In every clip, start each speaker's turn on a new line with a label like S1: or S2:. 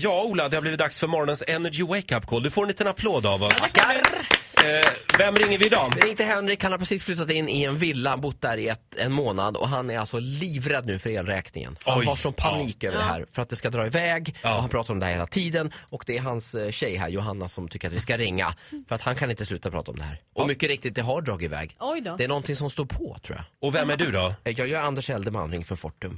S1: Ja, Ola, det har blivit dags för morgonens Energy Wake Up Call. Du får en liten applåd av oss. Eh, vem ringer vi idag?
S2: Vi ringde Henrik, han har precis flyttat in i en villa, bott där i ett, en månad och han är alltså livrädd nu för elräkningen. Han
S1: Oj,
S2: har sån panik över det här för att det ska dra iväg
S1: Ja.
S2: och han pratar om det här hela tiden och det är hans eh, tjej här, Johanna, som tycker att vi ska ringa för att han kan inte sluta prata om det här. Och mycket riktigt, det har dragit iväg.
S3: Oj då.
S2: Det är någonting som står på tror jag.
S1: Och vem är du då?
S2: Eh, Jag gör Anders Eldeman, Ring från Fortum.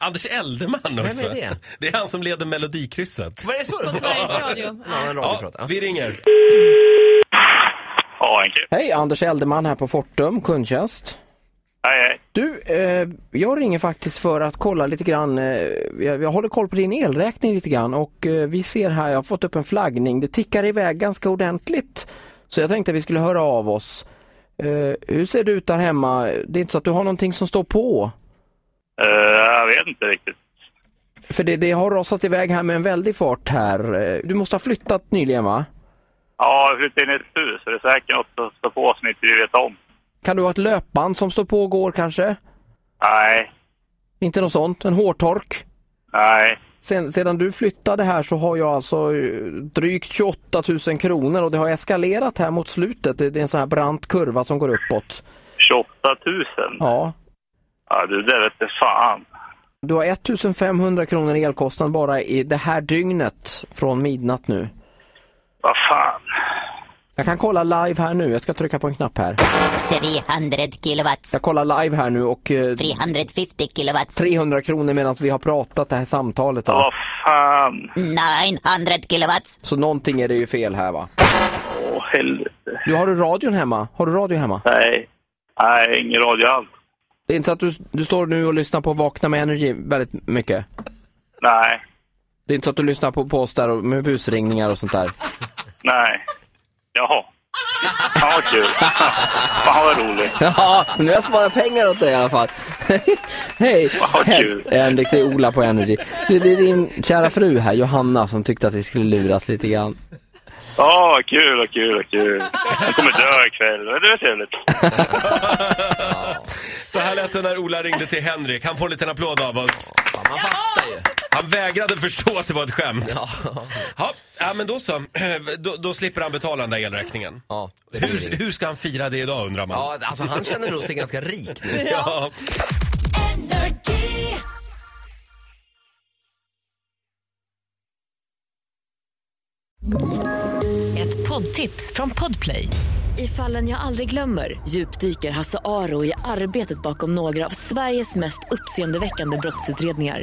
S1: Anders Eldeman också.
S2: är det?
S1: Det är han som leder Melodikrysset.
S2: Vad är det så?
S3: På Sveriges Radio.
S2: En annan
S1: Ja,
S2: radioprata.
S1: vi ringer.
S4: Ja, Henke.
S5: Hej, Anders Eldeman här på Fortum, kundtjänst.
S4: Hej, hej.
S5: Du, eh, jag ringer faktiskt för att kolla lite grann. Eh, jag, jag håller koll på din elräkning lite grann och eh, vi ser här, jag har fått upp en flaggning. Det tickar iväg ganska ordentligt. Så jag tänkte att vi skulle höra av oss. Eh, hur ser det ut där hemma? Det är inte så att du har någonting som står på?
S4: Eh, jag vet inte riktigt.
S5: För det, det har rasat iväg här med en väldig fart här. Eh, Du måste ha flyttat nyligen va?
S4: Ja, jag flyttade in i ett hus, så det är säkert något som står på som inte vi vet om.
S5: Kan du ha ett löpband som står på och går kanske?
S4: Nej,
S5: Inte något sånt? En hårtork?
S4: nej.
S5: Sen, sedan du flyttade här så har jag alltså eh, drygt 28 000 kronor och det har eskalerat här mot slutet. Det, det är en sån här brant kurva som går uppåt.
S4: 28 000? Ja,
S5: Ja.
S4: du, det vete fan.
S5: Du har 1 500 kronor i elkostnad bara i det här dygnet från midnatt nu.
S4: Vad fan.
S5: Jag kan kolla live här nu. Jag ska trycka på en knapp här.
S6: 300 kilowatts.
S5: Jag kollar live här nu och eh,
S6: 350 kilowatts.
S5: 300 kronor medan vi har pratat det här samtalet. Då.
S4: Vad fan.
S6: 900 kilowatts.
S5: Så någonting är det ju fel här va.
S4: Åh, helvete.
S5: Du, har du radion hemma? Har du radio hemma?
S4: Nej. Nej, ingen radio alls.
S5: Det är inte så att du, du står nu och lyssnar på Vakna med Energy väldigt mycket?
S4: Nej,
S5: Det är inte så att du lyssnar på, på oss där och- med busringningar och sånt där.
S4: nej. Jaha. Fan vad kul. fan vad roligt.
S5: Ja, men nu har jag sparat pengar åt dig i alla fall. Hej!
S4: Vad kul.
S5: Hen- Henrik, det är Ola på Energy. Det, det är din kära fru här, Johanna, som tyckte att vi skulle luras lite grann.
S4: Ja, vad kul, vad kul, vad kul. Jag kommer dö ikväll. Men det är trevligt.
S1: Så här lät det när Ola ringde till Henrik. Han får en liten applåd av oss.
S2: Fan, man fattar ju.
S1: Han vägrade förstå att det var ett skämt.
S2: Ja.
S1: Ja, ja men då så. Då, då slipper han betala den där elräkningen.
S2: Ja, det blir
S1: Hur,
S2: inget.
S1: hur ska han fira det idag undrar man?
S2: ja, alltså han känner nog sig ganska rik nu.
S1: Ja.
S7: Ett poddtips från Podplay. I fallen jag aldrig glömmer djupdyker Hasse Aro i arbetet bakom några av Sveriges mest uppseendeväckande brottsutredningar.